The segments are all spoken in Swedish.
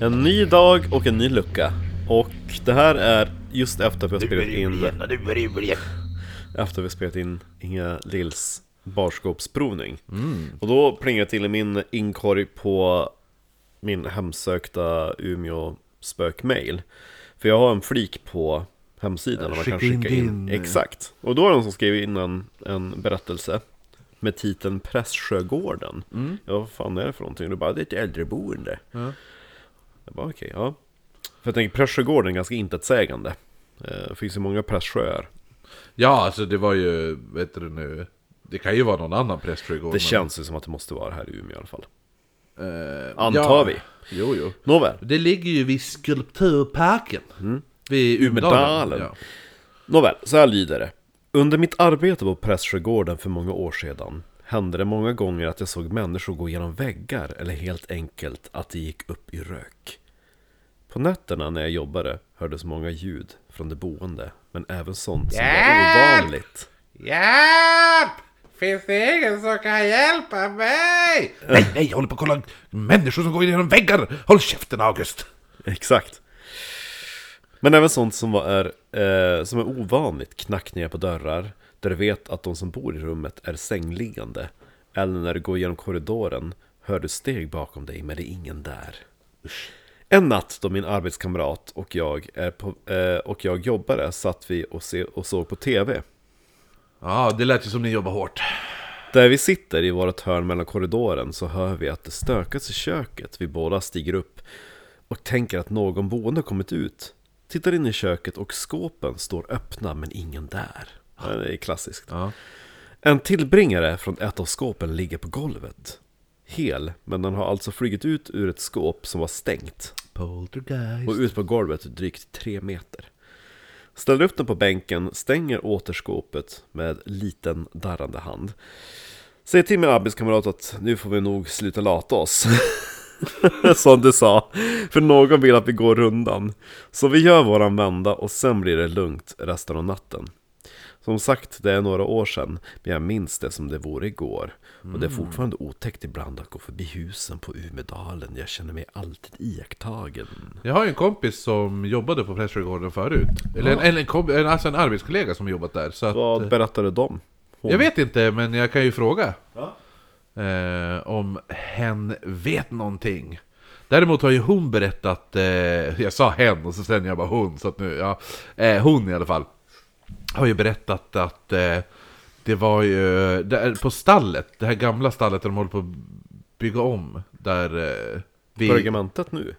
En ny dag och en ny lucka. Och det här är just efter att vi har spelat in, efter vi har spelat in Inga Lills barskåpsprovning. Mm. Och då plingar till i min inkorg på min hemsökta Umeå spökmail. För jag har en flik på hemsidan där man kan Skicka in skicka in. din- Exakt. Och då är det någon som skrev in en, en berättelse med titeln Prästsjögården. Mm. Ja, vad fan är det för någonting? Du bara, det är ett äldreboende. Jag bara, okej, ja. För jag tänker, Prästsjögården är ganska intetsägande. Eh, Det finns ju många prästsjöar. Ja, alltså det var ju, vet du nu, det kan ju vara någon annan prästgård. Det känns ju som att det måste vara här i Umeå i alla fall. eh, antar ja. vi. Jo, jo. Nåväl. Det ligger ju vid Skulpturparken. Mm. Vid Umedalen. Umedalen. Ja. Nåväl, så här lyder det. Under mitt arbete på Prästgården för många år sedan hände det många gånger att jag såg människor gå genom väggar eller helt enkelt att det gick upp i rök. På nätterna när jag jobbade hördes många ljud från de boende, men även sånt som var Hjälp! ovanligt. Hjälp! Finns det ingen som kan hjälpa mig? Nej, nej, jag håller på att kolla människor som går genom väggar. Håll käften August. Exakt. Men även sånt som, var, är, eh, som är ovanligt, knackningar på dörrar, där du vet att de som bor i rummet är sängliggande, eller när du går genom korridoren hör du steg bakom dig men det är ingen där. En natt då min arbetskamrat och jag, är på, eh, och jag jobbade satt vi och, se, och såg på TV. Ja, det lät ju som ni jobbar hårt. Där vi sitter i vårt hörn mellan korridoren så hör vi att det stökas i köket. Vi båda stiger upp och tänker att någon boende kommit ut. Tittar in i köket och skåpen står öppna men ingen där. Ja, Det är klassiskt. Ja. En tillbringare från ett av skåpen ligger på golvet. Hel, men den har alltså flugit ut ur ett skåp som var stängt Poltergeist. och ut på golvet drygt tre meter. Ställer upp den på bänken, stänger återskåpet med liten darrande hand. Säger till min arbetskamrat att nu får vi nog sluta lata oss. Som du sa, för någon vill att vi går rundan. Så vi gör våran vända och sen blir det lugnt resten av natten. Som sagt, det är några år sedan, men jag minns det som det vore igår. Och det är Mm. fortfarande otäckt ibland att gå förbi husen på Umedalen. Jag känner mig alltid iakttagen. Jag har ju en kompis som jobbade på Prästgården förut. Eller en, en, en, komp- en, alltså en arbetskollega som jobbat där. Så att, Vad berättade de? Hon. Jag vet inte, men jag kan ju fråga. Eh, om hen vet någonting. Däremot har ju hon berättat, eh, jag sa hen och så sen jag bara hon, så att nu, ja. Eh, hon i alla fall. Har ju berättat att eh, det var ju, där på stallet, det här gamla stallet där de håller på att bygga om. Där eh, vi... På regementet nu?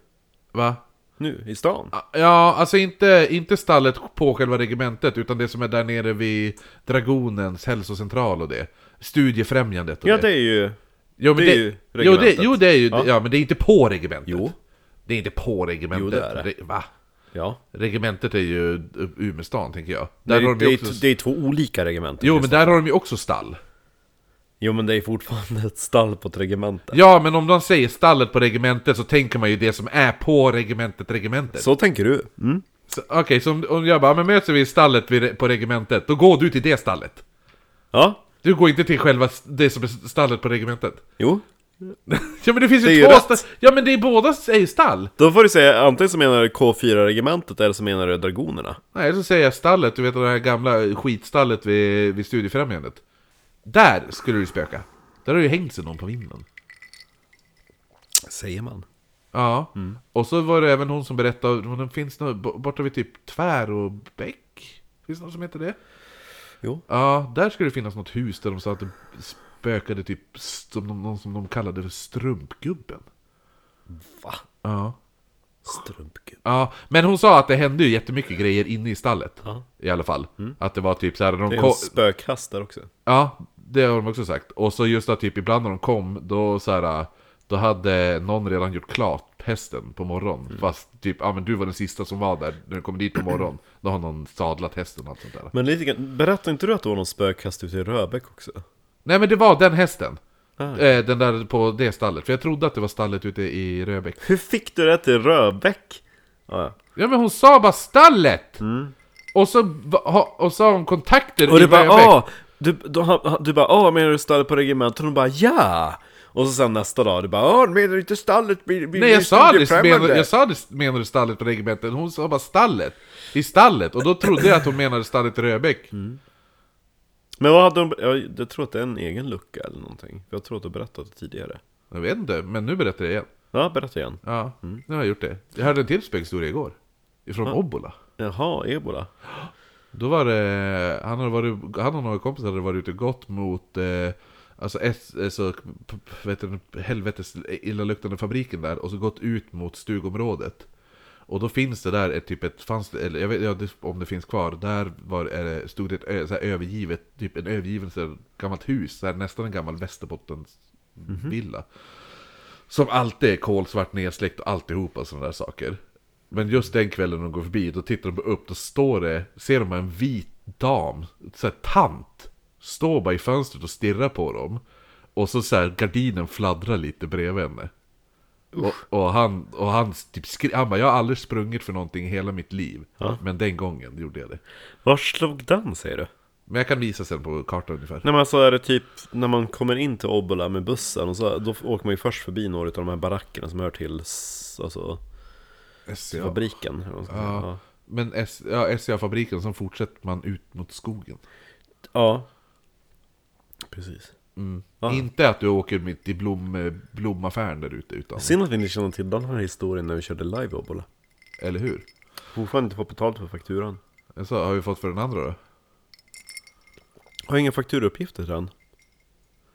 Va? Nu, i stan? Ja, alltså inte, inte stallet på själva regementet, utan det som är där nere vid Dragonens hälsocentral och det. Studiefrämjandet och Ja, det är ju... Jo, men det är det- ju jo, det, regementet. jo, det är ju... Ja. Ja. men det är inte på regementet. Jo. Det är inte på regementet. Jo, det är det. Re- Va? Ja. Regementet är ju Umestan, tänker jag. Det Där är, har det, de ju är, också... det är två olika regementen. Jo, Chris. men där har de ju också stall. jo, men det är fortfarande ett stall på ett regemente. Ja, men om de säger stallet på regementet så tänker man ju det som är på regementet, regementet. Så tänker du? Mm. Så, Okej, så om, om jag bara, men möts vi i stallet vid, på regementet, då går du till det stallet. Ja, Du går inte till själva s- det som är stallet på regementet? jo. Ja men det finns ju Det är ju två rätt. stall! Ja men det är båda är ju stall! Då får du säga antingen så menar du K4-regementet eller så menar du Dragonerna. Nej så säger jag stallet, du vet det här gamla skitstallet vid, vid Studiefrämjandet. Där skulle du spöka! Där har ju hängt sig någon på vinden. Säger man. Ja, Mm. och så var det även hon som berättade, men det finns något bo- borta vid typ Tvär och Bäck? Finns det något som heter det? Jo. Ja, där skulle det finnas något hus där de sa att det spökade typ som de, någon som de kallade för Strumpgubben. Va? Ja. Strumpgubbe. Ja, men hon sa att det hände ju jättemycket grejer inne i stallet. Ja. Mm. I alla fall. Att det var typ så här, när Det de är en kom... spökhass där också. Ja, det har de också sagt. Och så just att typ ibland när de kom, då så här, Då hade någon redan gjort klart hästen på morgonen. Mm. Fast typ, ja men du var den sista som var där när du kom dit på morgonen. Då har någon sadlat hästen och allt sånt där. Men lite grann, berättade inte du att det var någon spökhass ute i Röbäck också? Nej men det var den hästen. Ah. Eh, den där på det stallet. För jag trodde att det var stallet ute i Röbäck. Hur fick du det till Röbäck? Ja, ja. Ja men hon sa bara stallet! Och, så, va- ha- och så har hon kontakter Mm. Och du i bara Växjö. ah, du, då, han- du bara ah, menar du stallet på regementet? Och hon bara ja! Och så sen nästa dag, du bara ah, menar du inte stallet? Blir, blir, Nej jag blir sa, det, studiefrämmande?" menar, jag sa det, menar du stallet på regementet? Hon sa bara stallet. I stallet. Och då trodde jag att hon menade stallet i Röbäck. Men vad hade de, jag, jag tror att det är en egen lucka eller någonting. Jag tror att du berättat det tidigare. Jag vet inte, men nu berättar jag igen. Ja, berätta igen. Ja, nu har jag gjort det. Jag hörde en till spökhistoria igår. Ifrån Obbola. Jaha, ebola. Då var det, han, hade varit, han och några kompisar hade varit ute och gått mot eh, Alltså, S, alltså p- p- vet du, helvetes illaluktande fabriken där och så gått ut mot stugområdet. Och då finns det där ett typ ett, fanns det, eller jag vet inte om det finns kvar, där var, är det, stod det ett ö, så här övergivet, typ en övergiven så här, gammalt hus, så här, nästan en gammal Västerbottens villa. Som alltid är kolsvart nedsläckt och alltihopa och sådana där saker. Men just den kvällen de går förbi, då tittar de upp, då står det, ser de en vit dam, så här tant, står bara i fönstret och stirrar på dem. Och så, så här, gardinen fladdrar lite bredvid henne. Och, och han, och han, typ skri- han bara, jag har aldrig sprungit för någonting i hela mitt liv. Men den gången gjorde jag det. Var slog den säger du? Men jag kan visa sen på kartan ungefär. Nej men alltså är det typ när man kommer in till Obbola med bussen och så, då åker man ju först förbi några av de här barackerna som hör till s- alltså, SCA. fabriken. eller vad man ska säga. Ja. Men S- ja, SCA-fabriken, sen fortsätter man ut mot skogen. ja. Precis. Ja. Inte att du åker mitt i blom, blomaffären där ute, utan... Synd att vi inte känner till den här historien när vi körde live i Obbola. Eller hur? Fortfarande inte fått betalt för fakturan. Så, har vi fått för den andra då? Har inga fakturauppgifter till den.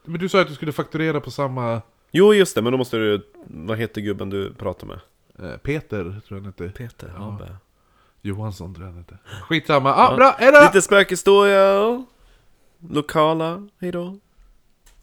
Men du sa att du skulle fakturera på samma... Jo just det, men då måste du, vad heter gubben du pratar med? eh, Peter, tror jag han hette. Peter Habe. Johansson, tror jag han hette. Skitsamma. Ah, bra, hejdå! Lite spökhistoria, lokala, hejdå.